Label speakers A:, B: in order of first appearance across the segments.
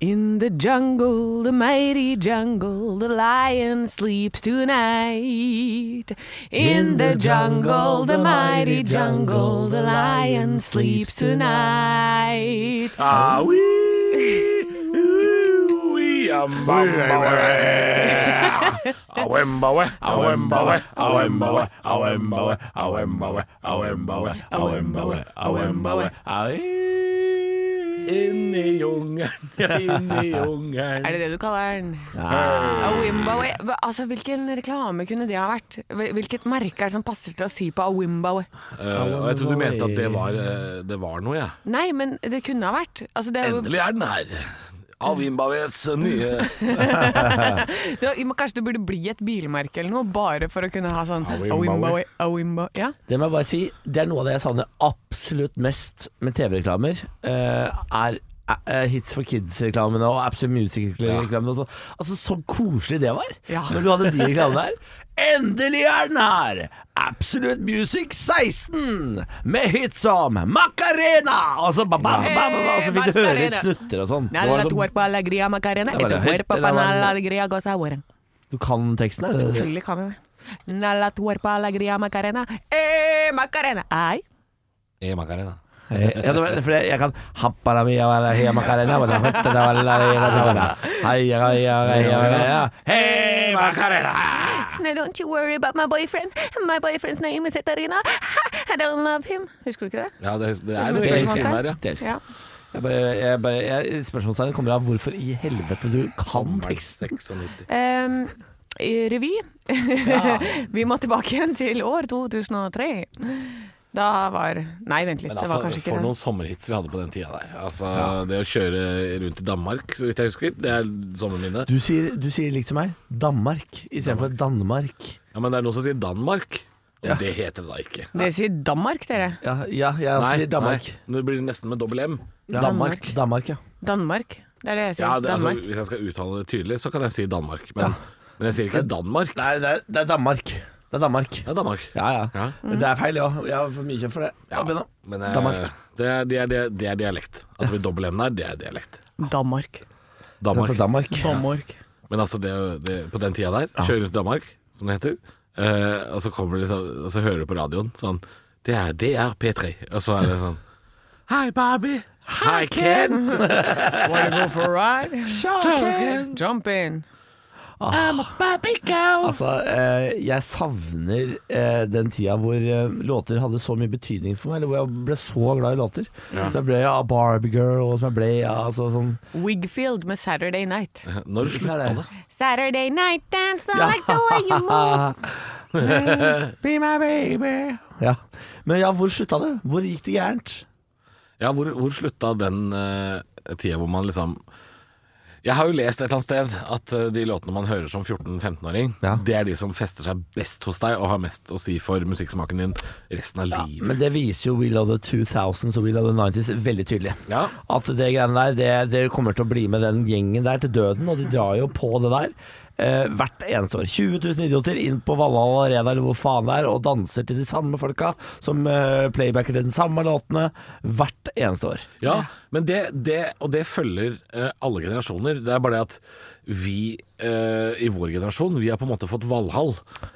A: In the jungle, the mighty jungle, the lion sleeps tonight. In the jungle, the mighty jungle, the lion sleeps tonight.
B: Ah, oui, oui, oui, awembawe. Awembawe, awembawe, awembawe, awembawe, awembawe, awembawe, awembawe, awembawe. Ai. Inn i jungelen, inn i jungelen.
A: Er det det du kaller den?
B: Ah.
A: Awimbawe. Hva- Altså, hvilken reklame kunne det ha vært? Hvil- Hvilket merke er det som passer til å si på Awimbawe?
B: Eh, og jeg trodde du mente at det var, eh, det var noe, jeg.
A: Nei, men det kunne ha vært. Altså, det er jo,
B: Endelig er den her. Avimbaves nye
A: du, men kanskje det burde bli et bilmerke eller noe, bare for å kunne ha sånn
B: Awimbawe.
A: Awimbawe, Awimbawe. Ja.
C: Det må jeg bare si, det er noe av det jeg savner absolutt mest med TV-reklamer. eh, er eh, Hits for Kids-reklamene og Absolute Music-reklamene. og sånn. Altså, så koselig det var!
A: Ja.
C: Når du hadde de reklamene der. Endelig er den her! Absolute Music 16! Med hits som Macarena! Og så, ba, ba, ba, ba, ba, og så fikk du høre litt snutter og sånn. Det var
A: Nalla
C: sånn-
A: tuerpa alegria macarena,
C: Det
A: etter
C: var det høyt,
A: tuerpa
C: det der var-
A: panalla alegria goza hueren.
C: Du kan teksten, er det det?
A: Selvfølgelig kan jeg det. Nalla tuerpa alegria macarena, eh, macarena. Ai.
B: E Macarena.
C: Eh, Ja, det var, for jeg, jeg kan Happala mia wala hia makarena wala huttana wala hia wala Heia heia heia heia Hei makarena
D: Now don't you worry about my boyfriend. My boyfriend's name is Etarina. I don't love him.
A: Husker du ikke det?
B: Ja, det, det er
A: som
B: noe
A: et
B: spesielt
A: spørsmålstegn.
B: der, ja.
C: Det er-
A: Ja.
C: Jeg bare, jeg bare jeg, Spørsmålstegnet kommer av hvorfor i helvete du kan teksten
B: 96.
A: Ehm, i revy. Vi må tilbake igjen til år 2003. Da var Nei, vent litt.
B: Men
A: det var
B: altså,
A: kanskje ikke
B: for
A: det.
B: noen sommerhits vi hadde på den tida der. Altså, Det å kjøre rundt i Danmark, så vidt jeg husker, det er sommerminnet.
C: Du sier, du sier likt som meg Danmark I stedet for Danmark
B: Ja, men det er noen som sier Danmark, og
C: Ja.
B: det heter det da ikke.
A: Dere sier Danmark, dere.
C: Ja, ja jeg også sier Danmark
B: nei, nå blir det nesten med dobbel M.
C: ja.
A: Danmark.
C: Danmark, ja
A: Danmark. Det er det jeg sier.
B: Ja, det, altså,
A: Danmark.
B: hvis jeg skal uttale det tydelig, så kan jeg si Danmark, men, men jeg sier ikke Danmark.
C: Nei, det er, det er Danmark Det er Danmark
B: Det er Danmark.
C: Ja, ja
B: Ja.
C: Men Det er feil, ja Jeg har for mye kjøp for det
B: Ja,
C: Abena.
B: men eh,
C: Danmark.
B: Det er, det, er, det er dialekt. At det blir dobbel M der, det er dialekt.
A: Danmark.
C: Danmark.
B: Danmark.
C: Danmark
A: Danmark.
B: Men altså, det, det, på den tida der, kjøre rundt i Danmark, som det heter, eh, og så kommer det, så, og så hører du på radioen sånn Det er, det er P3. Og så er det sånn Hei, Barbie. Hei, Ken.
A: Wanna go for a ride? Jump in.
B: I'm a Barbie girl.
C: Altså, eh, jeg savner eh, den tida hvor eh, låter hadde så mye betydning for meg, eller hvor jeg ble så glad i låter. Som jeg ble av Barbie Girl, og som jeg ble av altså, sånn
A: Wigfield med Saturday Night.
B: Når slutta
C: er det?
B: det?
D: Saturday night dance. I like the way you move.
C: ja.
A: Be my baby.
C: ja. Men ja, hvor slutta det? Hvor gikk det gærent?
B: Ja, hvor, hvor slutta den eh, tida hvor man liksom Jeg har jo lest et eller annet sted at eh, de låtene man hører som 14-15-åring,
C: Ja.
B: det er de som fester seg best hos deg og har mest å si for musikksmaken din resten av livet.
C: Men det viser jo We Love the 2000s og We Love the 90s veldig tydelig.
B: Ja.
C: At det greiene der, det, det kommer til å bli med den gjengen der til døden, og de drar jo på det der. Eh, hvert eneste år. 20 000 idioter inn på Valhall Arena eller hvor faen det er, og danser til de samme folka som eh, playbacker til den samme låtene hvert eneste år.
B: Ja, men det, det, og det følger eh, alle generasjoner. Det er bare det at vi eh, i vår generasjon, vi har på en måte fått Valhall,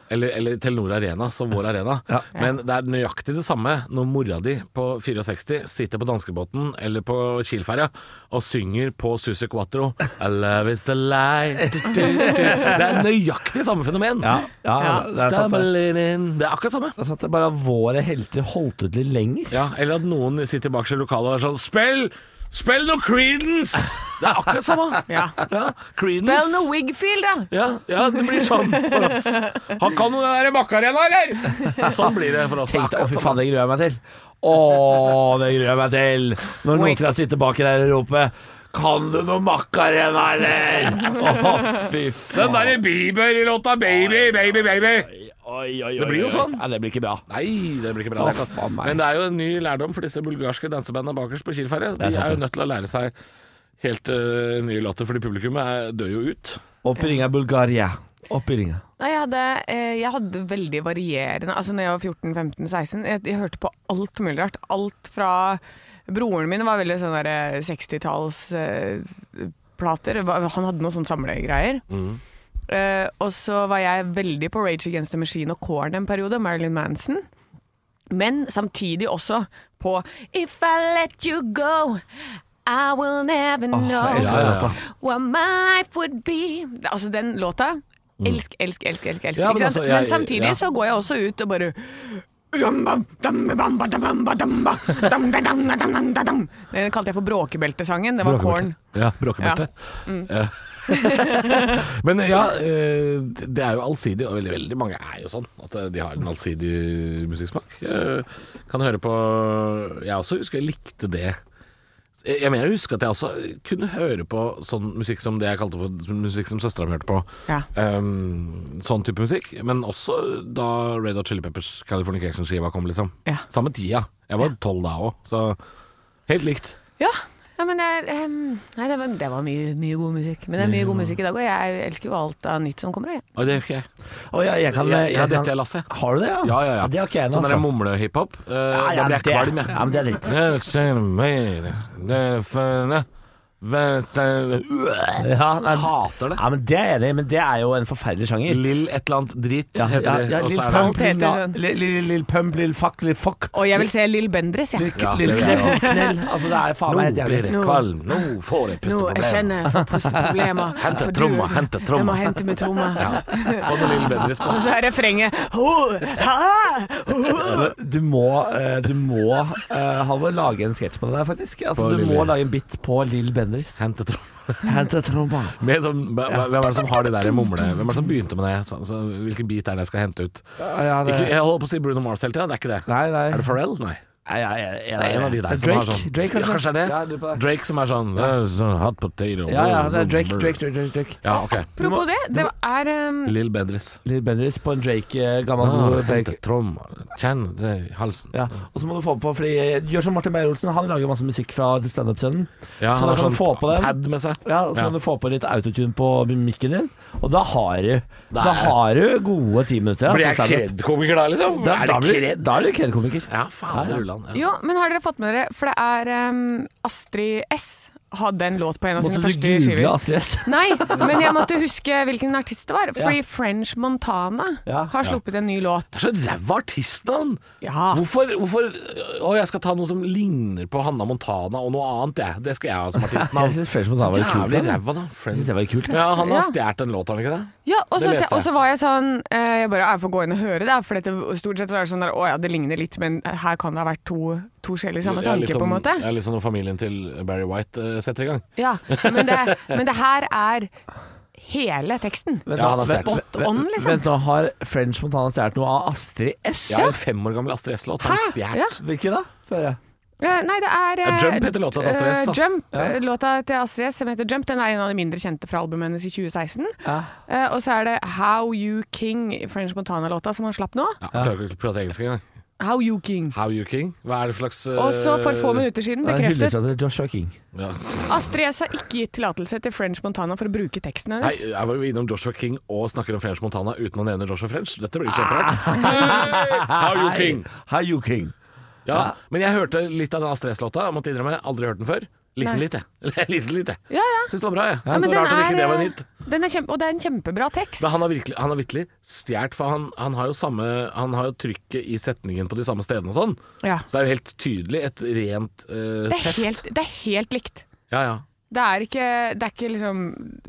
B: eller, eller Telenor Arena som vår arena. Men det er nøyaktig det samme når mora di på 64 sitter på danskebåten eller på Kielferja og synger på Susi Quattro I love is a lie. Du, du, du. Det er nøyaktig samme fenomen.
C: ja,
A: Ja.
C: det er sant det.
B: Stumbling in. Det er akkurat samme.
C: Det er sant det er bare at våre helter holdt ut litt lenger.
B: Ja, eller at noen sitter bak seg i lokalet og er sånn Spill! Spill noe Creedence! Det er akkurat samme.
A: Ja.
B: Creedence.
A: Bell no Wigfield, da.
B: ja, ja, det blir sånn for oss. Han kan jo det der i Macarena, eller? Sånn blir det for oss. Det er
C: Tenkte, å
B: akkurat
C: fy
B: samme.
C: faen, det gruer jeg meg til. Å, det gruer jeg meg til. Når noen
A: Wait.
C: skal sitte bak i der og rope Kan du noe Macarena, eller? Å, fy faen.
B: Den der i Bieber i låta Baby, baby, baby. Det blir jo sånn.
C: Nei, det blir ikke bra.
B: Nei, det blir ikke bra.
C: Å, faen meg.
B: Men det er jo en ny lærdom for disse bulgarske dansebandene bakerst på Kielferja. De
C: er sant,
B: er jo
C: det.
B: nødt til å lære seg helt eh, nye låter, fordi publikummet er, dør jo ut.
C: Opp i ringa Bulgaria. Opp i ringa.
A: Nei, jeg hadde, eh, jeg hadde veldig varierende Altså når jeg var 14, 15, 16 Jeg, jeg hørte på alt mulig rart Alt fra Broren min var veldig sånn der eh, 60-talls eh, plater. Det var- Han hadde noen sånne samlegreier. Eh, og så var jeg veldig på Rage Against the Machine og Korn en periode, Marilyn Manson. Men samtidig også på If I Let You Go I will never know
C: jeg elsker den
B: Altså,
C: låta.
A: what my life would be Altså den låta Elsk, elsk, elsk, elsk, elsk
B: Mm. Ja,
A: ikke
B: men
A: sant?
B: altså, jeg-
A: men samtidig
B: ja.
A: så går jeg også ut og bare Dam-bam, dam-bam-ba, dam-bam-ba, dam-ba, dam-da-dam-da-dam-da-dam. Den kalte jeg for Bråkebeltesangen. Det var Korn.
B: Ja, bråkebelte.
A: Mm.
B: Ja. Men ja, eh, det er jo allsidig, og veldig, veldig mange er jo sånn at eh, de har en allsidig musikksmak. Eh, Kan høre på Jeg også husker jeg likte det. Jeg jeg mener jeg husker at jeg også kunne høre på sånn musikk som det jeg kalte for musikk som søstera mi hørte på.
A: Ja.
B: Ehm, sånn type musikk. Men også da Red Hot Chili Peppers Californication-skiva kom, liksom.
A: Ja.
B: Samme tida. Jeg var tolv da òg, så helt likt.
A: Ja, ja men det er ehm, Nei, det var, det var mye, mye god musikk. Men det er mye god musikk i dag, og jeg elsker jo alt av nytt som kommer. Jeg.
B: Og det gjør ikke jeg.
C: Å, ja, jeg kan,
B: Ja, ja,
C: jeg
B: dette
C: kan-
B: er Lasse.
C: Har du det, ja?
B: Ja, ja, ja.
C: Det har ikke jeg ennå,
B: Sånn der
C: altså.
B: mumlehiphop. Uh,
C: Ja, ja,
B: da blir jeg
C: det-
B: kvalm, jeg.
C: Ja, men det er dritt. Ja, nei,
B: Hater det.
C: Ja, men det er jeg enig i, men det er jo en forferdelig sjanger.
B: Lill et eller annet dritt
C: Ja,
B: heter
C: ja,
B: det.
C: ja,
B: og
C: Lill
B: så er
C: Pump,
A: Alt
B: det
A: heter
C: Lill Na-
A: sånn.
C: Lill- Lill Lill Pump, Lill Fuck, Lill Fuck.
A: Og jeg vil se Lill Bendriss, jeg.
B: Ja, det
C: Lill
B: vil jeg
C: Knell, knell. Altså, det er faen
B: Nå
C: meg helt
B: blir
C: jævlig.
B: det
A: Nå-
B: kvalm. Nå får
A: Nå,
B: jeg
A: jeg
B: pusteproblemer.
A: kjenner jeg får pusteproblemer.
B: Hente
A: For du-
B: tromma, hente
A: Jeg
B: tromma.
A: må hente med tromma.
B: Få noe Lill Bendriss på.
A: Og så er refrenget ho, ha, ho.
C: Du må, eh, du må eh, Halvor, lage en sketsj på det der, faktisk. Altså,
B: På
C: du
B: Lill-
C: må lage en bit på Lill Bendriss.
B: Hente tromma.
C: Hente tromma.
B: Med sånn, hva- hva- hvem er det som har det der mumle... Hvem er det som begynte med det? Så, så, hvilken bit er det jeg skal hente ut?
C: Ja,
B: Ikke,
C: det-
B: jeg holder på å si Bruno Mars hele tida, det er ikke det.
C: Nei, nei.
B: Er det Pharrell? Nei.
C: Nei, jeg- jeg- jeg-
B: Det er en av de der som
C: Drake,
B: har sånn
C: Drake,
B: Ja, kanskje det
C: Ja, jeg
B: er
C: lurer
B: det.
C: på det.
B: Drake som er sånn eh, sånn Hot potato
C: Ja, ja, det er Drake, Drake, Drake, Drake, Drake.
B: Ja, ok.
A: Apropos det, det er ehm,
B: Lill Bendriss.
C: Lill Bendriss på en Drake, eh, gammel
B: Ah,
C: god
B: hente
C: Drake.
B: tromma. Kjenn det i halsen.
C: Ja, og så må du få på fordi eh, Gjør som Martin Beyer-Olsen, han lager masse musikk fra standup-scenen.
B: Ja,
C: så da
B: har sånn
C: kan du få på den.
B: pad med seg.
C: Ja, og så kan
B: Ja.
C: du få på litt autotune på mikken din, og da har du, da
B: er-
C: har du gode ti minutter.
B: Blir jeg
C: altså, standup.
B: kred-komiker da, liksom?
C: Da,
B: Er det
C: da, blir,
B: kred?
C: da er du kredkomiker.
B: Ja, faen, det ruller han. Ja.
A: Jo, men har dere fått med dere For det er ehm, Astrid S hadde en låt på en av
C: Måtte
A: sine
C: du
A: første
C: google
A: skiver.
C: Astrid S?
A: Nei, men jeg måtte huske hvilken artist det var. Fordi French Montana
C: Ja.
A: har sluppet en ny låt.
B: Det er så ræva artistnavn!
A: Ja.
B: Hvorfor, hvorfor Å, jeg skal ta noe som ligner på Hanna Montana og noe annet, jeg. Det skal jeg ha som artistnavn.
C: Jeg synes French Montana var litt kult,
B: Jævlig
C: da.
B: ræva, da. French-
C: Synes det var litt kult, da.
B: Ja, han har
A: Ja.
B: stjålet en låt, har han ikke det?
A: Ja, og så
B: Det leste jeg.
A: og så var jeg sånn eh, Jeg bare, jeg får gå inn og høre det, for dette, stort sett så er det sånn der, å ja, det ligner litt, men her kan det ha vært to, to sjeler i samme
B: Ja, litt sånn,
A: tanke, på en
B: som-
A: måte.
B: Ja, litt som når familien til Barry White eh, setter i gang.
A: Ja, men det, men det her er hele teksten.
B: Ja, han har stjert
A: Spot on, liksom.
C: Vent nå, har French Montana stjålet noe av Astrid S?
B: Jeg er en fem år gammel Astrid S-låt. Har
A: Hæ?
B: han stjålet?
A: Ja.
C: Hvilken da? Før jeg.
A: Eh, Nei, det er eh,
B: Ja, Jump heter låta til Astrid S,
A: eh,
B: da.
A: Jump, eh, låta til Astrid S som heter Jump. Den er en av de mindre kjente fra albumet hennes i 2016. Eh, og så er det How You King, French Montana-låta som han slapp nå.
B: Ja, jeg klarer ikke å prate engelsk engang.
A: How You King.
B: How you king? Hva er det slags eh,
A: Og så for få minutter siden
C: Det er en
A: bekreftet
C: hyllest til Joshua King.
B: ja.
A: Astrid S har ikke gitt tillatelse til French Montana for å bruke teksten
B: Nei,
A: hennes.
B: jeg var jo innom Joshua King og snakker om French Montana uten å nevne Joshua French. Dette blir
A: Ah.
B: kjemperart. How you king?
C: Hi, you King.
B: Ja, men jeg hørte litt av den Astrid S-låta. Jeg Måtte innrømme, aldri hørt den før. Likte den
A: Nei.
B: litt, jeg. Jeg likte den litt, jeg.
A: Ja, ja.
B: Syns det var bra, jeg.
A: ja
B: Syns det var rart at ikke det var en hit.
A: eh, den er kjempe, og det er en kjempebra tekst.
B: Men han har virkelig, han har virkelig stjålet, for han, han har jo samme Han har jo trykket i setningen på de samme stedene og sånn.
A: Ja.
B: Så det er jo helt tydelig et rent eh,
A: Det, er
B: theft.
A: helt, det er helt likt.
B: Ja, ja.
A: Det er ikke, det er ikke liksom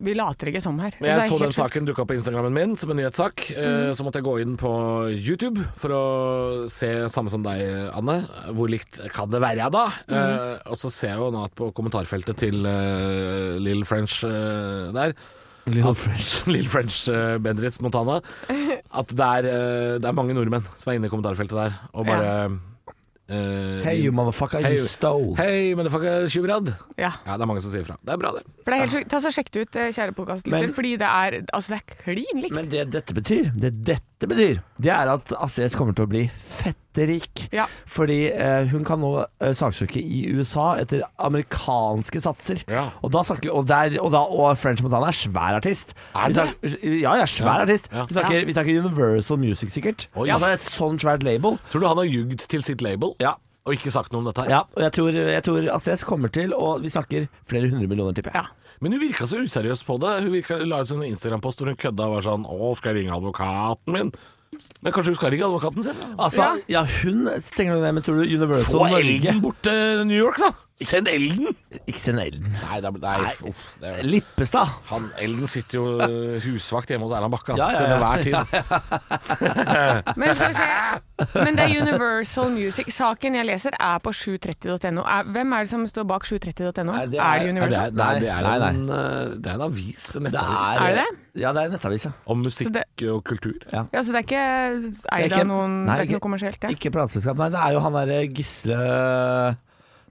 A: Vi later ikke som her.
B: Men
A: Det
B: jeg
A: er
B: så
A: helt
B: den saken dukka opp på Instagrammen min som en nyhetssak. Eh,
C: Mhm.
B: Så måtte jeg gå inn på YouTube for å se samme som deg, Anne. Hvor likt kan det være, da?
C: Mhm.
B: Eh, Og så ser jeg jo nå at på kommentarfeltet til eh, Lill French eh, der
C: Little
B: at- Lill French eh, Bendriss Montana. At det er, eh, det er mange nordmenn som er inne i kommentarfeltet der og bare eh,
C: Hey, you motherfucker,
B: Hey,
C: you
B: you-
C: stole.
B: Hei, motherfucker, tjuvrad.
A: Ja.
B: Ja, det er mange som sier fra. Det er bra, det.
A: For det er helt sjukt. Ta så Sjekk det ut, eh, kjære
C: Men-
A: podkastlytter, fordi det er Altså, det er klin likt.
C: Men det dette betyr, det dette betyr, det er at Astrid S kommer til å bli fetterik.
A: Ja.
C: Fordi eh, hun kan nå eh, saksøke i USA etter amerikanske satser.
B: Ja.
C: Og da snakker og, der, og, da, og French Montana er svær artist.
B: Er
C: Vi
B: det?
C: snakker, ja, ja, svær artist.
B: Ja.
C: Vi, snakker, vi snakker Universal Music, sikkert.
B: Oi.
C: Ja, det er et sånn svært label.
B: Tror du han har jugd til sitt label?
C: Ja.
B: og ikke sagt noe om dette. her
C: Ja, og jeg tror, jeg tror Astrid S kommer til, og vi snakker flere hundre millioner, tipper jeg.
B: Men hun virka så useriøs på det. Hun virka, la ut sånn Instagram-post hvor hun kødda og var sånn Å, skal jeg ringe advokaten min? Men kanskje hun skal ringe advokaten sin? da?
C: Altså, ja, hun tenker du det, men tror du Universal
B: Få
C: Norge
B: elden bort til New York, da! Send elden!
C: Ikke send Elden.
B: Nei, da, nei, uff. Det er,
C: Lippestad.
B: han, elden sitter jo eh, husvakt hjemme hos Erland Bakke han,
C: Ja, ja,
B: til
C: ja.
B: enhver tid.
A: Men, skal vi se. Men det er Universal Music. Saken jeg leser er på 730.no. Er- Hvem er det som står bak 730.no?
C: Nei,
A: Er
C: det er-
A: det
B: Nei, det
A: Universal?
B: er, nei, det er
C: Nei, nei.
B: en, eh, det er en avis, en
C: Det
B: nettavis,
A: Er det
C: Ja, det er en nettavis, ja.
B: om musikk
A: Så det-
B: og kultur.
A: Ja, så det er ikke
C: Det er
A: eid
C: ikke-
A: av noen
C: nei,
A: Det er ikke noe
C: ikke-
A: kommersielt, det?
C: Ikke plateselskap. Nei, det er jo han derre Gisle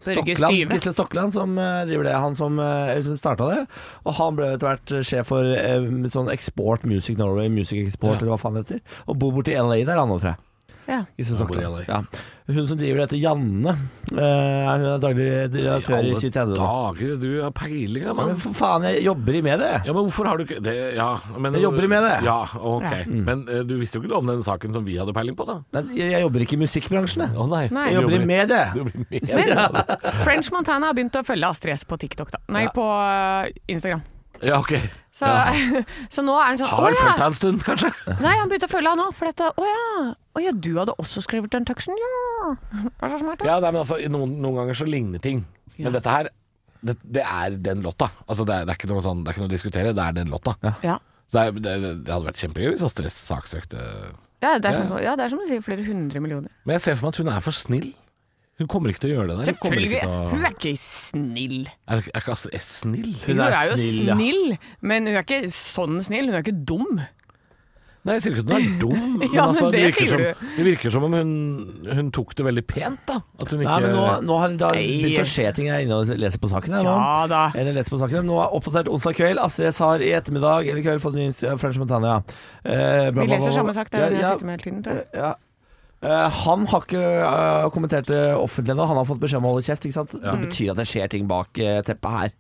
A: Børge
C: Stokland,
A: Styve.
C: Gisle Stokland som eh, driver det. Han som, eh, eller som starta det. Og han ble etter hvert sjef for eh, sånn Export Music Norway, Music Export
B: Ja.
C: eller hva faen det heter. Og bor borti LA der, han nå, tror jeg.
A: Ja.
C: Gisle
B: Han bor i
C: Stokland. Ja. Hun som driver det, heter Janne. Eh, hun er daglig redaktør i
B: alle
C: 730. nå.
B: dager, du har peiling, ja,
C: Ja, men
B: mann.
C: for faen, jeg jobber i med det.
B: Ja, men hvorfor har du ikke det, ja, men,
C: Jeg jobber med det.
B: Ja, ok.
A: Ja.
B: Men eh, du visste jo ikke noe om den saken som vi hadde peiling på, da?
C: Nei, jeg, jeg jobber ikke i musikkbransjen, jeg.
B: Å nei.
A: Nei.
C: Jeg jobber i medie.
B: Du jobber med
A: Men French Montana har begynt å følge Astrid S på TikTok, da. Nei, på eh, Instagram.
B: Ja, ok.
A: Så, så nå er han sånn
B: Har
A: Å
B: fulgt
A: ja!
B: deg en stund, kanskje?
A: Nei, han begynte å følge han nå, for dette Å ja! Å ja, du hadde også skrevet den teksten? Ja! Hva så smart, da?
B: Ja, nei, men altså, noen, noen ganger så ligner ting. Men dette her, det, det er den låta. Altså, det er, det, er ikke noe sånn, det er ikke noe å diskutere, det er den låta.
A: Ja.
B: Så det, er- det, det hadde vært kjempegøy hvis Astrid S saksøkte
A: Ja, det er, snakk om- ja, det er som du sier, flere hundre millioner.
B: Men jeg ser for meg at hun er for snill. Hun kommer ikke til å gjøre det der. Hun kommer
A: Selvfølgelig.
B: ikke til å-
A: Hun er ikke snill.
B: Er, er ikke Astrid S snill?
A: Hun er, jo
C: snill, ja.
A: snill, men hun er ikke sånn snill. Hun er ikke dum.
B: Nei, jeg sier ikke at hun er dum, men,
A: Ja, men
B: altså, det,
A: det
B: virker
A: sier
B: som,
A: du.
B: det virker som om hun, hun tok det veldig pent, da. At hun ikke
C: Nei, men nå, nå har det har
A: Nei.
C: begynt å skje ting jeg er inne og leser på saken. Her, nå.
A: Ja da.
C: Jeg er inne og leser på saken. Nå er oppdatert onsdag kveld. Astrid S har i ettermiddag eller kveld fått ny inst- ja, French Montana. Ja. Eh, bla,
A: Vi
C: bla, bla,
A: leser
C: bla.
A: samme sak, det er den jeg
C: Ja,
A: sitter med hele tiden. Tror jeg.
C: ja, ja. Eh, han har ikke eh, kommentert det offentlig ennå. Han har fått beskjed om å holde kjeft. Ikke sant? Det betyr at det skjer ting bak eh, teppet her.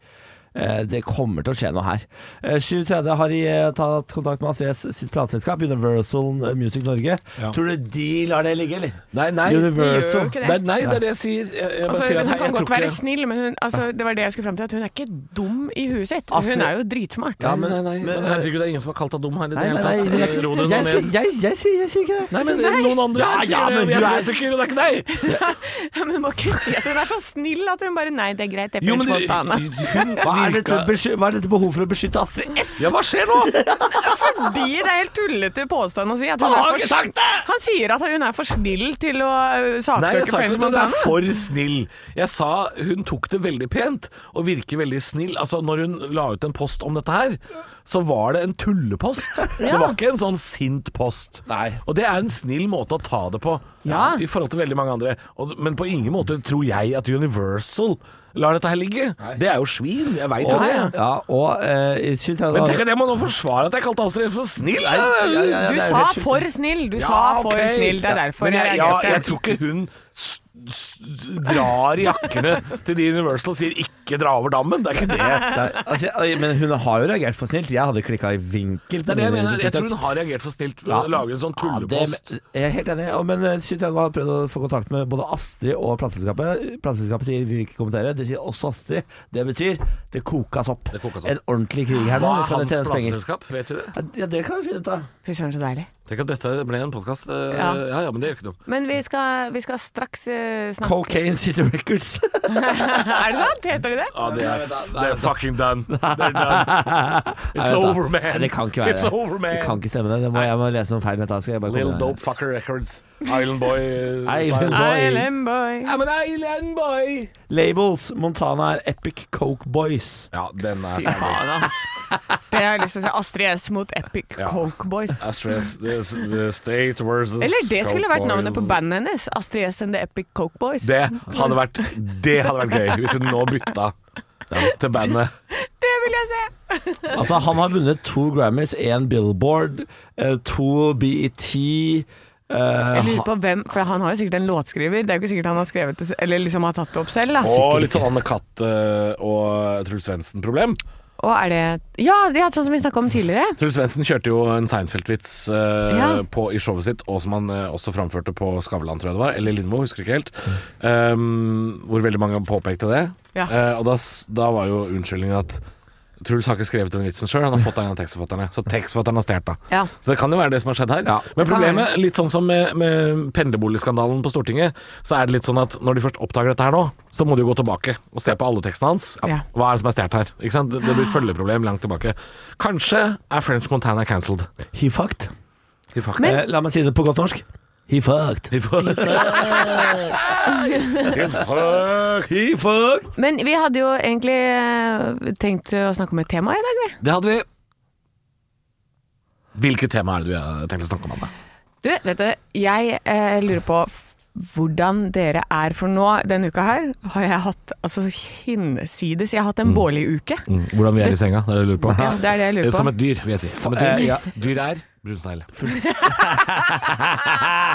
C: Eh, Det kommer til å skje noe her. Eh, 7.30 har de eh, tatt kontakt med Astrid S sitt plateselskap, Universal Music Norge. Tror du de lar det ligge, eller?
B: Nei, nei,
C: Universal.
A: Gjør ikke det.
B: nei, nei, det er det jeg sier. Jeg, jeg bare
A: Altså,
B: sier at
A: hun
B: jeg,
A: kan
B: jeg
A: godt
B: tror
A: være
B: ikke
A: snill, men hun, altså, det var det jeg skulle fram til. At hun er ikke dum i huet sitt.
C: Astrid-
A: Hun er jo dritsmart.
C: Ja,
B: Nei, nei, nei,
C: Men-
B: men herregud, det er ingen som har kalt deg dum her i det
C: Nei,
B: hele
C: nei,
B: tatt.
C: nei,
B: Eh, Ro deg nå
C: jeg, sier-
B: ned.
C: jeg, jeg, sier- jeg sier ikke det.
B: Nei, men det er
A: Nei.
B: noen andre
C: Ja, ja,
B: sier det,
C: men
B: og jeg
C: du
B: tror
C: er-
B: jeg stykker, det er ikke deg.
A: Men hun må ikke si at hun er så snill at hun bare Nei, det er greit, det er
B: Jo,
A: French
B: men det-
A: Montana.
B: hun
C: Hva er, dette,
B: virka
C: besky- hva er dette behovet for å beskytte Astrid S?
B: Ja, hva skjer nå?
A: Fordi det er helt tullete påstand å si. At hun
C: Han
A: er
C: har
A: for
C: ikke
A: sn-
C: sagt det!
A: Han sier at hun er for snill til å øh,
B: Nei, jeg
A: saksøke
B: sa ikke
A: French
B: at hun er
A: Montana.
B: for snill. Jeg sa hun tok det veldig pent og virker veldig snill. Altså, når hun la ut en post om dette her, så var det en tullepost. Det var ikke en sånn sint post.
C: Nei.
B: Og det er en snill måte å ta det på,
A: Ja.
B: i forhold til veldig mange andre. Og, men på ingen måte tror jeg at Universal lar dette her ligge. Det er jo svin, jeg veit jo
C: Og,
B: det.
C: ja, og eh, i 37
B: Men tenk at jeg må nå forsvare at jeg kalte Astrid for snill!
C: Nei, ja, ja,
A: Du
C: ja, det er jo
A: sa
C: helt sjukt.
A: for snill, du sa for
B: ok.
A: snill. Det er
B: Ja,
A: derfor
B: Men
A: jeg
B: jeg, ja,
A: reagerte.
B: jeg tror ikke hun s s drar i jakkene til de Universal og sier 'ikke dra over dammen'. Det er ikke det.
C: Nei, altså, jeg- men hun har jo reagert for snilt. Jeg hadde klikka i vinkel. på
B: Det er det jeg
C: min
B: mener. Jeg
C: TikTok.
B: tror hun har reagert for snilt.
C: Ja.
B: Lager en sånn
C: Ja, det-
B: tullepost.
C: jeg er helt enig. Ja, Men eh, 37 har prøvd å få kontakt med både Astrid og plateselskapet. Plateselskapet sier vi vil ikke kommentere. Det sier også Astrid. Det betyr det kokas opp.
B: Det kokas opp.
C: En ordentlig krig her nå.
B: Hva er
C: Skal det
B: hans
C: tjenes penger?
B: plateselskap? Vet du det?
C: Ja, det kan vi finne ut av.
A: Fy søren, så deilig.
B: Tenk at dette ble en podkast.
A: Ja.
B: Ja. ja ja, men det gjør ikke noe.
A: Men vi skal, vi skal straks øh, snakke
C: Cocaine City Records.
A: Er det sant? Heter det det?
B: Ja, det er, det er fucking done. They're done.
C: Nei,
B: It's
C: vent da.
B: over, man.
C: Nei, Det kan ikke være
B: It's over, man.
C: Det kan ikke stemme, det. det må, jeg må lese noen feil. Vent, da skal jeg bare
B: Little
C: komme-
B: Dope Fucker Records. Island Boy. eh,
C: Island
B: style.
C: Boy.
A: ILM Boy.
B: Ja, men Island Boy!
C: Labels. Montana er Epic Coke Boys.
B: Ja, den er
A: Fy faen, ass. Det har jeg lyst til å si. Astrid S mot Epic
B: Ja.
A: Coke Boys.
B: Astrid, the, the State versus
A: Eller det skulle
B: Coke
A: vært navnet på
B: Boys.
A: bandet hennes. Astrid S and The Epic Coke Boys.
B: Det hadde vært, det hadde vært gøy hvis hun nå bytta til bandet.
A: Det vil jeg se!
C: Altså, han har vunnet to Grammys, én Billboard, eh, to BET eh,
A: Jeg lurer på hvem, for han har jo sikkert en låtskriver. Det er jo ikke sikkert han har skrevet det, se- eller liksom har tatt det opp selv. Da.
B: Og litt sånn Anne Katt eh, og Truls Svendsen-problem.
A: Og er det Ja, ja sånn som vi snakka om tidligere.
B: Truls Svendsen kjørte jo en Seinfeld-vits eh,
A: Ja.
B: på- i showet sitt, og som han eh, også framførte på Skavlan, tror jeg det var, eller Lindmo, husker ikke helt. Ehm, hvor veldig mange påpekte det.
A: Ja.
B: Eh, og da, s- da var jo unnskyldningen at Truls har ikke skrevet den vitsen sjøl, han har fått den av tekstforfatterne. Så tekstforfatteren har stjålet den.
A: Ja.
B: Så det kan jo være det som har skjedd her. Men
A: kan
B: problemet, litt sånn som med, med pendlerboligskandalen på Stortinget, så er det litt sånn at når de først oppdager dette her nå, så må de jo gå tilbake og se på alle tekstene hans.
A: Ja. Ah.
B: Hva er det som er stjålet her? Ikke sant? Det det blir et følgeproblem langt tilbake. Kanskje er French Montana cancelled.
C: He fucked.
B: I fakta.
C: Eh, la meg si det på godt norsk. He fucked.
B: I fakta.
C: He fucked.
A: Men vi hadde jo egentlig eh, tenkt å snakke om et tema i dag, vi.
B: Det hadde vi. Hvilket tema er det du har tenkt å snakke om, Anne?
A: Du, vet du, jeg eh, lurer på f- hvordan dere er, for nå denne uka her har jeg hatt altså hinsides Jeg har
B: Mm.
A: hatt en bårlig uke.
B: Hvordan vi er i senga, det er det du lurer på? Eh,
A: Ja, det er det jeg lurer
B: Som
A: på.
B: et dyr, vil jeg si. Som et
C: Eh,
B: dyr.
C: ja.
B: dyr er brunsnegl.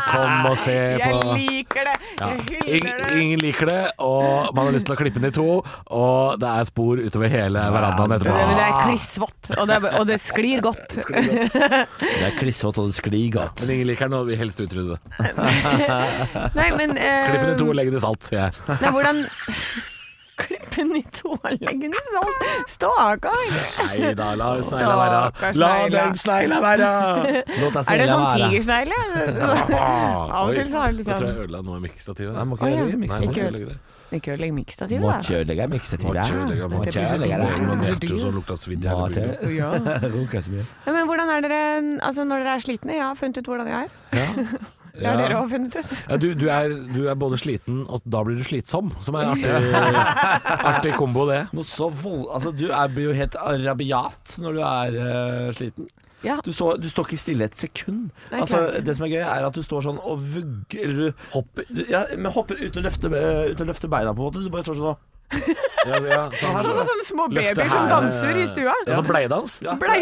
B: Kom og se
A: Jeg
B: på
A: liker det!
B: ja.
A: Jeg hyller
B: ingen,
A: det!
B: ingen liker det, og man har lyst til å klippe den i to, og det er spor utover hele verandaen
A: Det, men det
B: etterpå.
A: er klissvått, og, det er- og det sklir godt.
C: Det er klissvått, og det sklir godt.
B: Men ingen liker den, og vil helst utrydde det.
A: Nei, men eh,
B: Klipp den i to og legg den i salt, sier jeg.
A: Nei, hvordan Klippe den i to og legge den i salt? Stakkar!
B: Nei da, la snegla være.
A: Stakkars
B: La
A: snegla.
B: den snegla være!
A: Er
C: Låt deg
A: det
C: snille
A: sånn
C: være.
A: tigersnegle? Av
B: Oi,
A: og til så har du
B: Jeg tror jeg
A: liksom
B: ødela noe i mikkestativet.
C: Nei, må
A: Å,
C: ikke
A: ja.
C: gjøre det. mikse
B: Nei,
C: det.
B: må ikke
A: Ikke-
B: ødelegge det.
A: Ikke ødelegg
C: Må
A: mikkestativet, da.
C: kjørelegge mikse til
B: Må ikke ødelegge, må
A: Det
B: ikke
A: blir så
B: ødelegge.
A: dyrt.
B: Man
A: Det blir så
B: hjertet, så lukter det svidd i hele byen.
A: Ja.
C: Ja.
A: Ja, Men hvordan er dere Altså når dere er slitne? Jeg har funnet ut hvordan jeg er. Det har dere
B: Ja.
A: òg funnet ut.
B: Ja, du, du, er, du er både sliten, og da blir du slitsom, som er en artig, artig kombo, det.
C: Noe så vold... Altså, du er, blir jo helt rabiat når du er eh, sliten.
A: Ja.
C: Du står, du står ikke stille et sekund.
A: Nei,
C: altså,
A: klart.
C: det som er gøy, er at du står sånn og vugger eller du hopper, du, ja, men hopper uten å, løfte, eh, uten å løfte beina, på en måte. Du bare står sånn og
B: Ja, ja, sånn,
A: Sånn som sånne små
B: Løfte
A: babyer som
B: her,
A: danser i stua.
B: Ja, sånn bleidans. Ja,
A: Blei.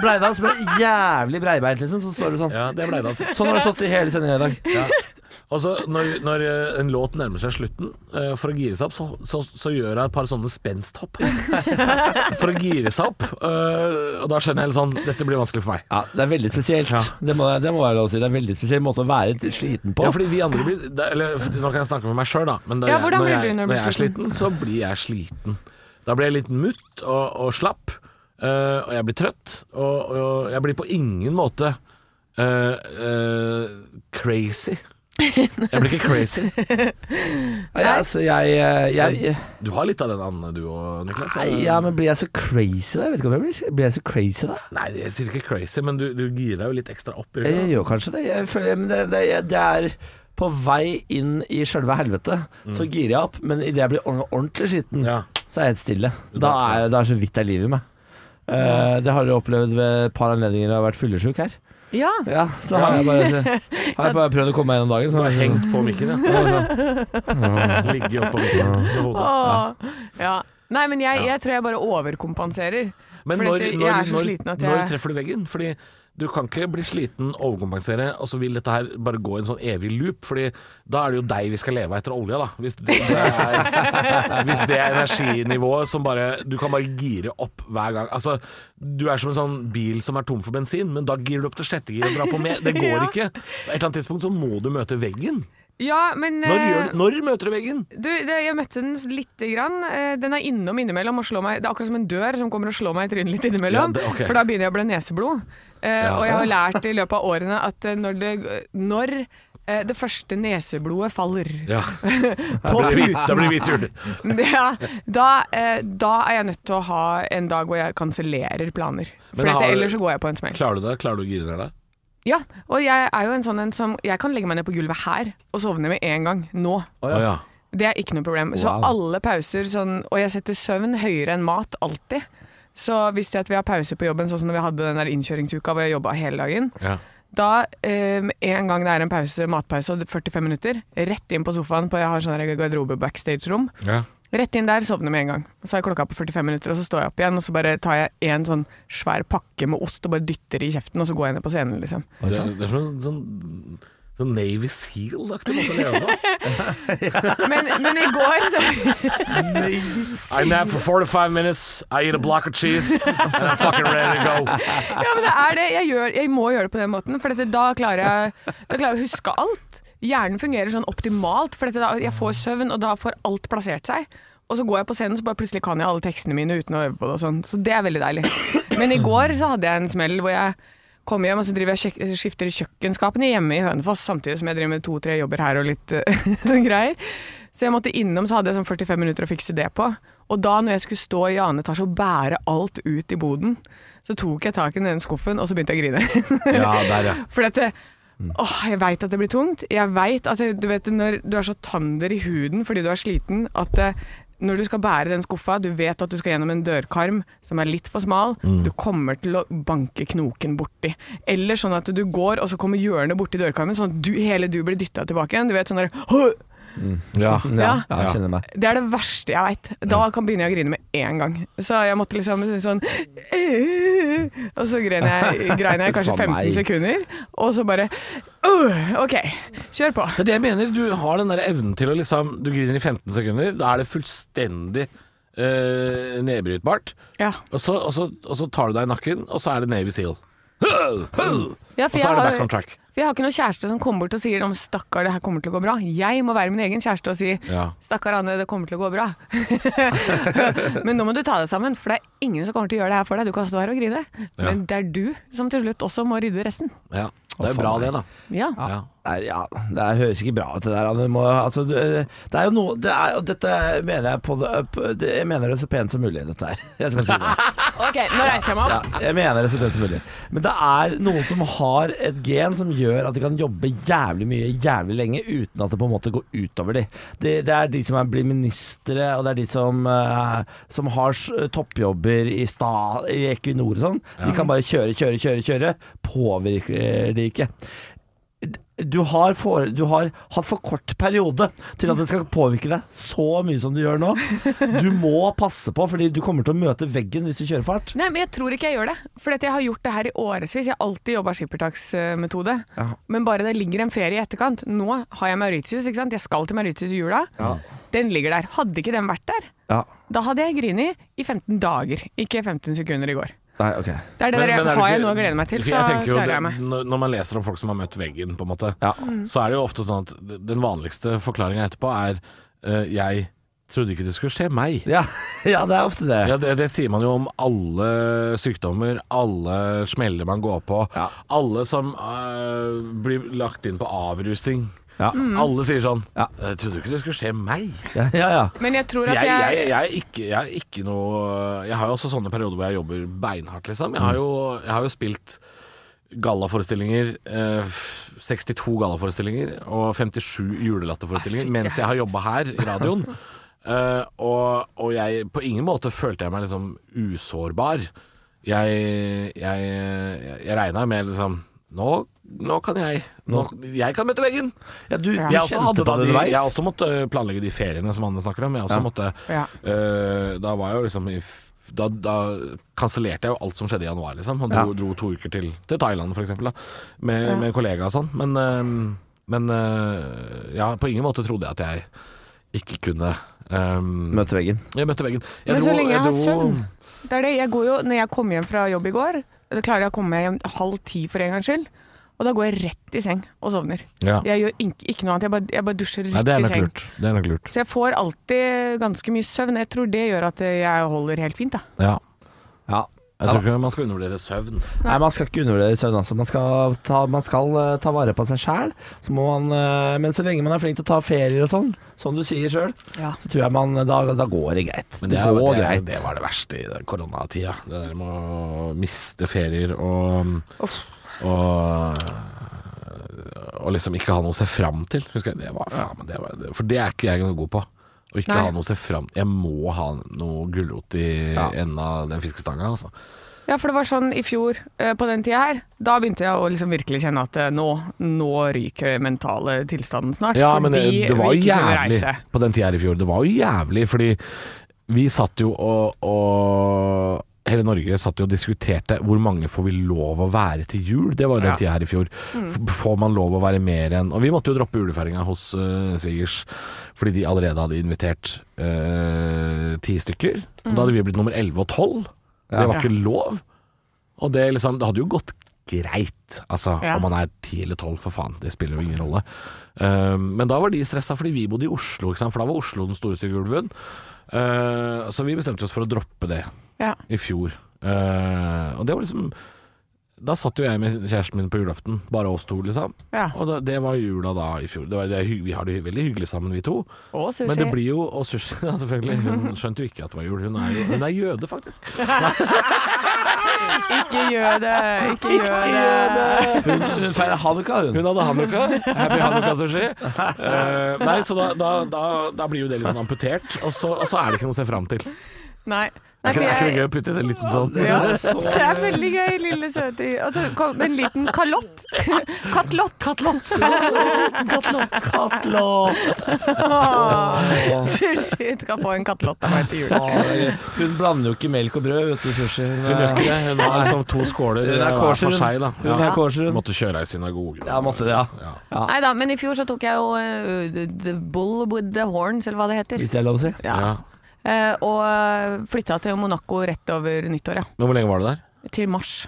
C: Bleidans ble jævlig breibeint, liksom. Så står du sånn.
B: det er bleidans.
C: Sånn har du stått i hele sendinga i dag.
B: Og så når, når eh, en låt nærmer seg slutten, eh, for å gire seg opp, så, så, så gjør jeg et par sånne spensthopp. For å gire seg opp. eh, Og da skjønner jeg litt sånn Dette blir vanskelig for meg.
C: Ja, det er veldig spesielt. Det, må, det må være lov å si. Det er en veldig spesiell måte å være litt sliten på.
B: Ja, fordi vi andre blir det- Eller f- nå kan jeg snakke for meg sjøl, da. Men da
A: Ja,
B: jeg-
A: hvordan
B: når,
A: blir
B: jeg,
A: du når du blir
B: jeg er sliten, så blir jeg sliten. Da blir jeg litt mutt og, og slapp, eh, og jeg blir trøtt. Og, og jeg blir på ingen måte eh, eh, crazy. Jeg blir ikke crazy.
C: ja, altså, jeg, eh, jeg, jeg
B: Du har litt av den Anne, du òg, Niklas.
C: Nei, ja, men blir jeg så crazy da? Jeg vet ikke om jeg blir, blir jeg så crazy da?
B: Nei, jeg sier ikke crazy, men du, du girer deg jo litt ekstra opp.
C: Jeg,
A: Eh,
C: jeg gjør kanskje det. Jeg føler, men det, det, jeg- det er på vei inn i sjølve helvete, så girer jeg opp. Men idet jeg blir ordentlig- ordentlig skitten,
B: Ja.
C: så er jeg helt stille. Da er jeg- da er så vidt det er liv i meg. Eh, det har jeg opplevd ved et par anledninger jeg har vært fyllesyk her.
A: Ja.
C: Ja, så har jeg bare, har jeg bare prøvd å komme meg gjennom dagen.
B: Du
C: Så
B: har hengt på mikken, ja. Ligget oppå mikken. med hodet.
A: Åh. ja. Nei, men jeg, jeg tror jeg bare overkompenserer.
B: Men
A: Fordi at
B: når,
A: jeg
B: når,
A: er så
B: når,
A: sliten at
B: når
A: jeg-
B: treffer du veggen? Fordi du kan ikke bli sliten, overkompensere, og så vil dette her bare gå i en sånn evig loop. Fordi da er det jo deg vi skal leve av etter olja, da. Hvis det, det er, hvis det er energinivået som bare Du kan bare gire opp hver gang. Altså, du er som en sånn bil som er tom for bensin, men da girer du opp til sjette gir og drar på mer. Det går
A: Ja.
B: ikke. På et eller annet tidspunkt så må du møte veggen.
A: Ja, men
B: Når,
A: eh,
B: gjør du, når møter du veggen?
A: Du, det, jeg møtte den lite grann. Eh, Den er innom innimellom og slår meg Det er akkurat som en dør som kommer og slår meg i trynet litt innimellom.
B: Ja, det- ok.
A: For da begynner jeg å blø neseblod. Eh,
B: Ja.
A: og jeg har lært i løpet av årene at eh, når det, når eh, det første neseblodet faller
B: Ja.
A: på
B: Da
A: puten
B: blir det hvit jul.
A: ja, da, eh, da er jeg nødt til å ha en dag hvor jeg kansellerer planer.
B: Men
A: For
B: har du-
A: ellers så går jeg på en smell.
B: Klarer du det? Klarer du å gire ned deg?
A: Ja, og jeg er jo en sånn en som Jeg kan legge meg ned på gulvet her og sovne med en gang. Nå.
B: Å
C: ja.
B: ja.
A: Det er ikke noe problem. Så
C: Wow.
A: alle pauser sånn Og jeg setter søvn høyere enn mat, alltid. Så hvis det er at vi har pause på jobben, sånn som når vi hadde den der innkjøringsuka hvor jeg jobba hele dagen,
B: ja.
A: da eh, med en gang det er en pause, matpause, og det er 45 minutter, rett inn på sofaen på Jeg har sånn her garderobe backstage-rom.
B: ja.
A: Rett inn der, sovner med en gang. Så er klokka på 45 minutter, og så står jeg opp igjen, og så bare tar jeg en sånn svær pakke med ost og bare dytter i kjeften, og så går jeg ned på scenen, liksom.
B: Det, det er som en sånn Sånn Navy Seal-aktig måte å leve på.
A: Men, men i går så
B: I nap for 45 minutes, I eat a block of cheese, and I'm fucking ready to go.
A: Ja, men det er det. Jeg, gjør, jeg må gjøre det på den måten, for dette, da, klarer jeg, da klarer jeg å huske alt. Hjernen fungerer sånn optimalt, for dette, da, jeg får søvn, og da får alt plassert seg. Og så går jeg på scenen, så bare plutselig kan jeg alle tekstene mine uten å øve på det. og sånn. Så det er veldig deilig. Men i går så hadde jeg en smell hvor jeg kom hjem, og så driver jeg og skifter kjøkkenskapene hjemme i Hønefoss, samtidig som jeg driver med to-tre jobber her og litt eh, greier. Så jeg måtte innom, så hadde jeg sånn 45 minutter å fikse det på. Og da når jeg skulle stå i annen etasje og bære alt ut i boden, så tok jeg tak i den skuffen, og så begynte jeg å grine.
C: Ja, der, ja.
A: For dette Åh, jeg veit at det blir tungt. Jeg veit at det- Du vet når du er så tander i huden fordi du er sliten at eh, når du skal bære den skuffa, du vet at du skal gjennom en dørkarm som er litt for smal, du kommer til å banke knoken borti. Eller sånn at du går, og så kommer hjørnet borti dørkarmen, sånn at du, hele du blir dytta tilbake igjen. Du vet sånn der «Åh!»
B: Ja.
C: Ja,
A: Ja.
C: jeg kjenner meg.
A: Det er det verste jeg veit. Da kan begynne jeg å grine med en gang. Så jeg måtte liksom sånn "Øh!" Og så grein jeg, grein jeg i kanskje 15
C: Faen meg.
A: sekunder, og så bare «Åh, OK, kjør på.
B: Det er det jeg mener. Du har den der evnen til å liksom Du griner i 15 sekunder, da er det fullstendig eh, nedbrytbart.
A: Ja.
B: Og så, og, så, og så tar du deg i nakken, og så er det Navy Seal. Og
A: Ja, for
B: så
A: jeg
B: er det
A: har,
B: back on track.
A: for jeg har ikke noen kjæreste som kommer bort og sier om stakkar, det her kommer til å gå bra. Jeg må være min egen kjæreste og si
B: Ja.
A: stakkar Anne, det kommer til å gå bra. Men nå må du ta deg sammen, for det er ingen som kommer til å gjøre det her for deg. Du kan stå her og grine, men det er du som til slutt også må rydde resten.
B: Ja. Det
C: Å,
B: er bra,
C: faen
B: det, da.
A: Ja.
B: Ja.
C: Nei, ja, det høres ikke bra ut det der. Anne. Du Må, altså, du, det er jo noe det er, og Dette mener jeg på det, på det Jeg mener det så pent som mulig, dette her. Jeg skal si det.
A: OK, nå reiser jeg meg
C: Ja,
A: opp.
C: jeg mener det så pent som mulig. Men det er noen som har et gen som gjør at de kan jobbe jævlig mye jævlig lenge uten at det på en måte går utover de. Det, det er de som er, blir ministre, og det er de som, eh, som har s- toppjobber i, sta, i Equinor og sånn. De kan bare kjøre, kjøre, kjøre, kjøre. Påvirker de ikke. Du har, fore, du har hatt for kort periode til at det skal påvirke deg så mye som du gjør nå. Du må passe på, fordi du kommer til å møte veggen hvis du kjører fart.
A: Nei, men jeg tror ikke jeg gjør det. For jeg har gjort det her i årevis. Jeg har alltid jobba skippertaksmetode.
C: Ja.
A: Men bare det ligger en ferie i etterkant. Nå har jeg Mauritius, ikke sant. Jeg skal til Mauritius i jula. Den ligger der. Hadde ikke den vært der,
C: Ja.
A: da hadde jeg grini i 15 dager. Ikke 15 sekunder i går.
C: Nei, ok.
A: Det er det der jeg,
B: er det
A: har
B: ikke-
A: jeg noe å glede meg til,
B: for
A: så
B: jeg tenker jo
A: klarer
B: det-
A: jeg meg.
B: Når, når man leser om folk som har møtt veggen, på en måte,
C: Ja.
B: så er det jo ofte sånn at den vanligste forklaringa etterpå er eh, 'jeg trodde ikke det skulle skje meg'.
C: Ja, ja det er ofte det.
B: Ja, det, det sier man jo om alle sykdommer, alle smeller man går på,
C: Ja.
B: alle som eh, blir lagt inn på avrusning.
C: Ja.
B: Alle sier sånn
C: Ja.
B: 'Jeg trodde ikke det skulle skje meg'.
C: Ja, ja, ja.
A: Men jeg tror
B: Jeg,
A: at
B: jeg,
A: jeg,
B: jeg, er ikke, jeg er ikke noe Jeg har jo også sånne perioder hvor jeg jobber beinhardt, liksom. Jeg har jo, jeg har jo spilt gallaforestillinger, eh, f- 62 gallaforestillinger og 57 julelatterforestillinger mens jeg har jobba her i radioen. Eh, og, og jeg på ingen måte følte jeg meg liksom usårbar. Jeg, jeg, jeg regna med liksom nå, nå kan jeg nå, Jeg kan møte veggen!
C: ja du, du
B: Jeg også,
C: kjente
B: hadde
C: på
B: da de,
C: det underveis.
B: jeg også måtte øh, planlegge de feriene som Anne snakker om. Jeg også måtte,
A: Ja.
B: øh, da var jeg jo liksom i f- da, da kansellerte jeg jo alt som skjedde i januar, liksom. Og dro,
C: Ja.
B: dro to uker til, til Thailand, for eksempel, da, med, med en kollega og sånn. Men, øhm, men øh, ja, på ingen måte trodde jeg at jeg ikke kunne øhm,
C: Møtte veggen.
B: Jeg møtte veggen. Jeg
A: Men så lenge jeg har
B: dro-
A: søvn. Det er det. Jeg går jo, når jeg kom hjem fra jobb i går, da klarer jeg å komme meg hjem halv ti for en gangs skyld. Og da går jeg rett i seng og sovner.
B: Ja.
A: Jeg gjør ikke, ikke noe annet. Jeg bare, jeg bare dusjer rett
B: Nei, det er
A: i
B: nok
A: seng.
B: lurt. Det er nok lurt.
A: Så jeg får alltid ganske mye søvn. Jeg tror det gjør at jeg holder helt fint, da.
B: Ja.
C: Ja.
B: Jeg tror ikke man skal undervurdere søvn.
C: Nei, Man skal ikke undervurdere søvn. Altså. Man skal, ta, man skal eh, ta vare på seg sjæl. Så må man, eh, men så lenge man er flink til å ta ferier og sånn, som du sier sjøl,
A: Ja.
C: så tror jeg man Da, da går det greit.
B: Men det, er,
C: går
B: det, er,
C: greit.
B: det var det verste i den koronatida. Det der med å miste ferier og og, og liksom ikke ha noe å se fram til. Husker jeg, det var, faen, men det var, det- for det er ikke jeg noe god på. Å ikke
A: Nei.
B: ha noe å se fram Jeg må ha noe gulrot i
C: Ja.
B: enden av den fiskestanga, altså.
A: Ja, for det var sånn i fjor eh, på den tida her. Da begynte jeg å liksom virkelig kjenne at eh, nå, nå ryker den mentale tilstanden snart.
B: Ja, men eh, det, det var jo
A: vi ikke kunne
B: jævlig
A: reise.
B: på den tida her i fjor. Det var jo jævlig, fordi vi satt jo og, og hele Norge satt jo og diskuterte hvor mange får vi lov å være til jul. Det var jo den
C: Ja.
B: tida her i fjor.
A: Mm.
B: F- Får man lov å være mer enn Og vi måtte jo droppe julefeiringa hos eh, svigers fordi de allerede hadde invitert eh, ti stykker.
A: Mm.
B: Og da hadde vi blitt nummer elleve og tolv. Det var ikke lov. Og det, liksom, det hadde jo gått greit, altså
A: Ja.
B: om man er ti eller tolv, for faen. Det spiller jo ingen rolle. Eh, men da var de stressa fordi vi bodde i Oslo, ikke sant? for da var Oslo den store stygge ulven. Eh, så vi bestemte oss for å droppe det
A: Ja.
B: i fjor. Eh, og det var liksom Da satt jo jeg med kjæresten min på julaften, bare oss to, liksom.
A: Ja.
B: Og da, det var jula da i fjor. Det var, det er, hy- vi har det hy- veldig hyggelig sammen, vi to.
A: Og sushi.
B: Men det blir jo Og sushi, ja, selvfølgelig. Hun skjønte jo ikke at det var jul. Hun er jo hun er jøde, faktisk.
A: Ikke gjør det! Ikke gjør det!
C: Hun, hun feirer hanukka, hun.
B: Hun hadde hanukka. Happy hanukka-sushi. Eh, nei, så da, da, da, da blir jo det litt sånn amputert, og så, og så er det ikke noe å se fram til.
A: Nei. Nei,
B: Er
A: for
B: ikke, er ikke det
A: jeg
B: gøy å putte inn en liten sånn
A: ja, det er veldig gøy, lille søte. Og så kom en liten kalott. Katlott. Katlott.
C: Katlott!
A: Sushi skal få en katlott av meg til jul.
C: Hun blander jo ikke melk og brød, vet du, sushi. Hun
B: Hun gjør
C: er,
B: ikke det. Hun har liksom to skåler
C: Hun er
B: eh, hver
C: kosher, hun.
B: for seg, da.
C: hun er kosher, hun.
B: Måtte kjøre ei synagoge.
C: Ja, måtte det, ja.
B: Ja.
A: Nei da, men i fjor så tok jeg jo eh, the- The Bull with the Horns, eller hva det heter.
C: Hvis det er lov å si.
A: Ja.
B: Ja.
A: Eh, og flytta til Monaco rett over nyttår, ja.
B: Men hvor lenge var du der?
A: Til mars.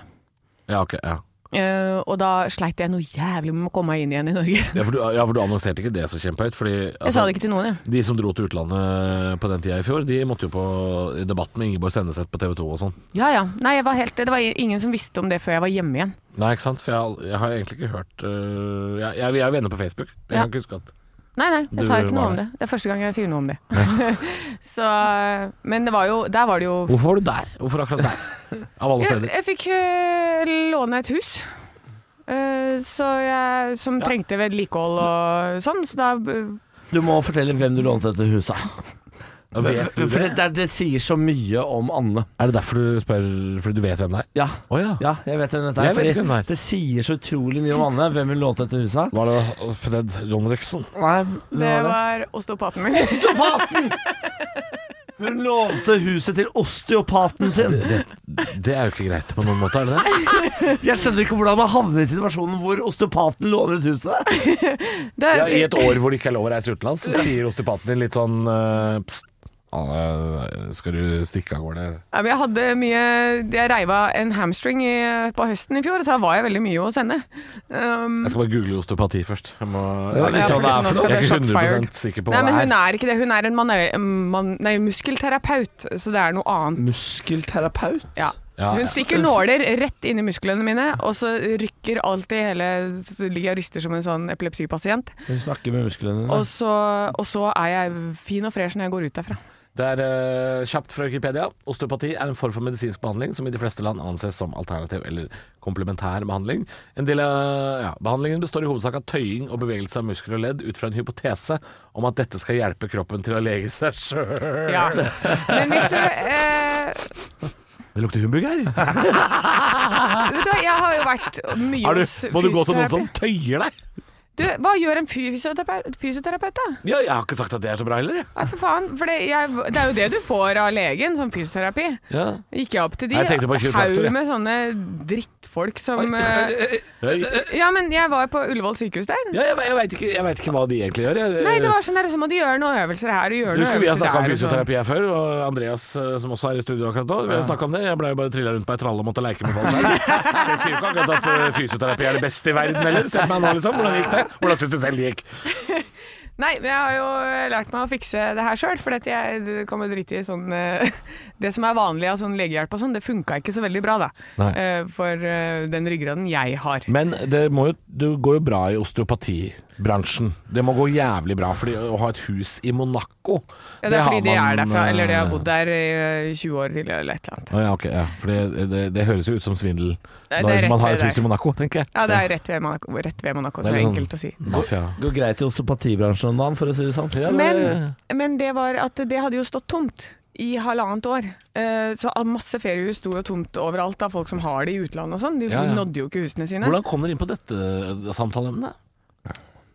B: Ja, ok. Ja.
A: Eh, og da sleit jeg noe jævlig med å komme meg inn igjen i Norge.
B: Ja, for du, ja, for du annonserte ikke det så kjempehøyt. Fordi altså,
A: Jeg sa det ikke til noen, jeg.
B: de som dro til utlandet på den tida i fjor, de måtte jo på i debatt med Ingeborg Senneset på TV 2 og sånn.
A: Ja ja. Nei, jeg var helt, det var ingen som visste om det før jeg var hjemme igjen.
B: Nei, ikke sant? For jeg, har- jeg har egentlig ikke hørt øh, jeg, jeg, Vi er jo venner på Facebook. Jeg
A: Ja.
B: kan ikke huske at
A: Nei, nei, jeg
B: Du
A: sa ikke noe
B: var
A: om det.
B: der.
A: Det er første gang jeg sier noe om det. så, eh, men det var jo, der var det jo
B: Hvorfor var du der? Hvorfor akkurat der? Av alle
A: Jeg,
B: steder.
A: jeg fikk øh, låne et hus. øh, så jeg, som trengte vedlikehold og sånn, så da øh,
C: Du må fortelle hvem du lånte dette huset av.
B: Ja, vet du
C: For
B: det?
C: det, det, det sier så mye om Anne.
B: Er det derfor du spør fordi du vet hvem det er?
C: Ja,
B: Å ja.
C: ja jeg vet hvem dette
B: Jeg
C: er.
B: vet
C: fordi
B: ikke hvem det er.
C: Det sier så utrolig mye om Anne, hvem hun lånte dette huset av.
B: Var det Fred Jonriksen?
C: Nei,
A: Det var osteopaten min.
C: Osteopaten! Hun lånte huset til osteopaten sin.
B: Det er jo ikke greit på noen måte, er det det?
C: Jeg skjønner ikke hvordan man havner i situasjonen hvor osteopaten låner ut huset.
A: Det,
B: Ja, I et år hvor det ikke er lov å reise utenlands, så sier osteopaten din litt sånn øh, Pst, Anne, skal du stikke av gårde?
A: Ja, men Jeg hadde mye Jeg reiv av en hamstring i, på høsten i fjor, så da var jeg veldig mye hos henne. Um,
B: Jeg skal bare google osteopati først. Jeg, må,
C: Ja,
B: jeg,
C: litt av
B: er
C: hva det er
B: ikke- nå
C: for noe.
B: skal jeg er ikke
A: Shots
B: 100
A: fired.
B: sikker på
A: nei,
B: hva
A: men hun
B: det er.
A: er ikke det. Hun er en manuell- man, nei, muskelterapeut, så det er noe annet.
C: Muskelterapeut?
A: Ja.
B: Ja, ja.
A: Hun stikker nåler rett inn i musklene mine, og så rykker alltid hele så Ligger jeg og rister som en sånn epilepsipasient.
C: Hun snakker med musklene
A: Og så, og så er jeg fin og fresh når jeg går ut derfra.
B: Det er eh, kjapt fra Wikipedia. Osteopati er en form for medisinsk behandling som i de fleste land anses som alternativ eller komplementær behandling. En del av ja, Behandlingen består i hovedsak av tøying og bevegelse av muskler og ledd ut fra en hypotese om at dette skal hjelpe kroppen til å lege seg sjøl.
A: Ja. Men hvis du eh,
B: Det lukter humbug her.
A: Vet du hva, jeg har jo vært mye
B: Er du,
A: hos
B: må du gå til noen sånn?
A: fysioterapi.
B: som tøyer deg?
A: Du, hva gjør en fysioterapeut, fysioterapeut da?
B: Ja, jeg har ikke sagt at det er så bra heller, jeg.
A: Nei, for faen. For det, jeg, det er jo det du får av legen, sånn fysioterapi. Gikk jeg opp til de
B: Jeg tenkte på kiropraktor,
A: haug
B: jeg.
A: med sånne drittfolk som eh, Ja, men jeg var på Ullevål sykehus der.
B: Ja, jeg, jeg veit ikke, jeg vet ikke hva de egentlig gjør. Jeg,
A: Nei, det var sånn der, så må de gjøre noen øvelser her og gjøre
B: Du
A: noen
B: husker vi har
A: øvelser
B: snakka
A: der. og
B: om
A: sånn.
B: fysioterapi her før, og Andreas eh, som også er i studio akkurat nå, vi har snakket om det. Jeg blei jo bare trilla rundt på ei tralle og måtte leike med folk der. Så jeg sier jo ikke akkurat at eh, fysioterapi er det beste i verden heller. Se på meg nå, liksom. Hvordan gikk det? Hvordan syns du selv det gikk?
A: Nei, men jeg har jo eh, lært meg å fikse det her sjøl, for jeg kan jo drite i sånn eh, Det som er vanlig av sånn legehjelp og sånn, det funka ikke så veldig bra, da.
B: Nei.
A: eh, For eh, den ryggraden jeg har.
B: Men det, må jo, det går jo bra i osteopatibransjen. Det må gå jævlig bra, fordi å ha et hus i Monaco
A: Ja, det er fordi de
B: har
A: er derfra, eller de har
B: eh,
A: bodd der i eh, 20 år tidligere, eller et eller annet.
B: Å ja, ok. Ja. For det, det, det høres jo ut som svindel
A: Nei, det er
B: når
A: rett
B: man har et
A: ved
B: hus i Monaco, tenker jeg.
A: Ja, det er rett ved Monaco, rett ved Monaco så
B: Det
A: det
B: er
A: er
B: sånn-
A: enkelt å si.
B: Mafia.
C: Går greit i osteopatibransjen om dagen, for å si det sånn.
B: Ja, det-
A: Men- Men det var at det hadde jo stått tomt i halvannet år. Eh, Så all- masse feriehus sto jo tomt overalt av folk som har det i utlandet og sånn. De
B: Ja, ja.
A: nådde jo ikke husene sine.
B: Hvordan kom dere inn på dette samtaleemnet?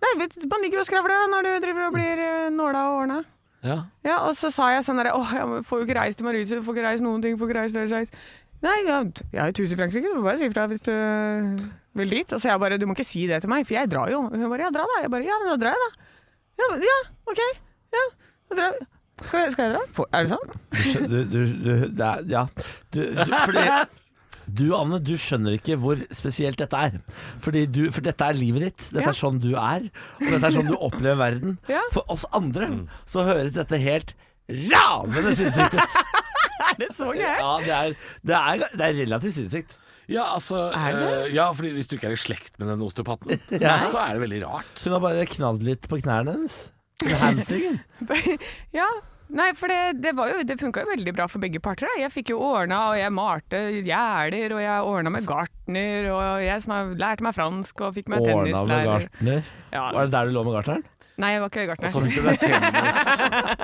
A: Nei, vet du, man ligger jo og skravler da når du driver og blir eh, nåla og ordna.
B: Ja.
A: Ja, og så sa jeg sånn der Åh, jeg får jo ikke reist til Mauritius, får ikke reist noen ting, får ikke reist reist, reist. Nei, ja, jeg har jo et hus i Frankrike, du får bare si ifra hvis du eh, vil dit. Og så jeg bare Du må ikke si det til meg, for jeg drar jo. Og hun bare Ja, dra da. Jeg bare Ja, men da drar jeg, da. Ja, men- ja OK. Ja, da drar jeg. Skal jeg, skal jeg dra? Får- Er det sant?
C: Du, skjø- du, du, du, det er, ja. du, du, fordi, du, Anne, du skjønner ikke hvor spesielt dette er. Fordi du, for dette er livet ditt. Dette
A: Ja.
C: er sånn du er. Og dette er sånn du opplever verden.
A: Ja.
C: For oss andre så høres dette helt ravende sinnssykt ut.
A: Er det så gøy?
C: Ja, det er, det er, det er relativt sinnssykt.
B: Ja, altså
A: Er det?
B: eh, Ja, fordi hvis du ikke er i slekt med den osteopaten,
C: Ja.
B: så er det veldig rart.
C: Hun har bare knadd litt på knærne hennes. Med hamstringen.
A: Ja. Nei, for det, det, var jo, det funka jo veldig bra for begge parter. Da. Jeg fikk jo ordna, og jeg malte gjerder, og jeg ordna med gartner, og jeg snak, lærte meg fransk og fikk meg
C: Ordna med
A: tennislærer.
C: gartner.
A: Ja.
C: Var det der du lå med gartneren?
A: Nei, jeg var ikke gartner.
B: Og så fikk du deg tennis altså,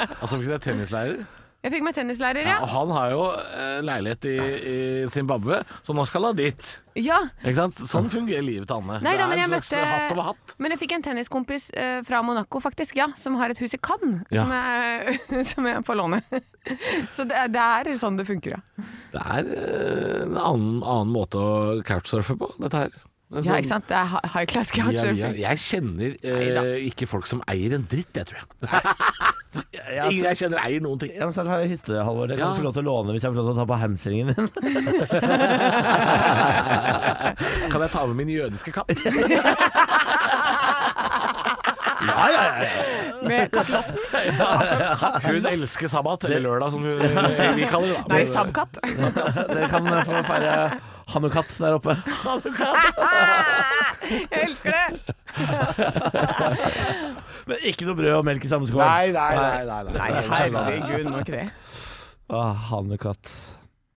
B: Og så fikk du deg tennislærer.
A: Jeg fikk meg tennislærer, ja.
B: Og han har jo eh, leilighet i, i Zimbabwe, som han skal ha dit.
A: ja.
B: Ikke sant? Sånn fungerer livet til Anne.
A: Nei,
B: det
A: da,
B: er
A: men jeg
B: en slags
A: møtte-
B: hatt over hatt.
A: Men jeg fikk en tenniskompis eh, fra Monaco, faktisk, ja, som har et hus i Cannes,
B: Ja.
A: som, jeg, som jeg får låne. Så det, det er sånn det funker, ja.
B: Det er eh, en annen, annen måte å couchsurfe på, dette her. Altså,
A: Ja, ikke sant? Det er hi- high class
B: via- via-
A: couchsurfing.
B: jeg kjenner eh,
A: Neida.
B: ikke folk som eier en dritt, jeg tror jeg. Ingen jeg kjenner eier noen ting.
C: Ja, men snart har jeg hytte, Halvor. Det kan
B: Ja.
C: du få lov til å låne hvis jeg får lov til å ta på hamstringen din.
B: Kan jeg ta med min jødiske katt?
C: Ja, ja, ja, ja.
A: Med kattelotten.
B: Hun elsker sabbat, eller lørdag som hun, vi kaller det. da.
A: Nei, sabkatt.
C: Dere kan få feire Hanukat der oppe.
A: Jeg elsker det!
C: Men ikke noe brød og melk i samme skål.
B: Nei, nei, nei. nei, nei.
A: Nei, herregud, må ikke det.
C: Å, Hanukat.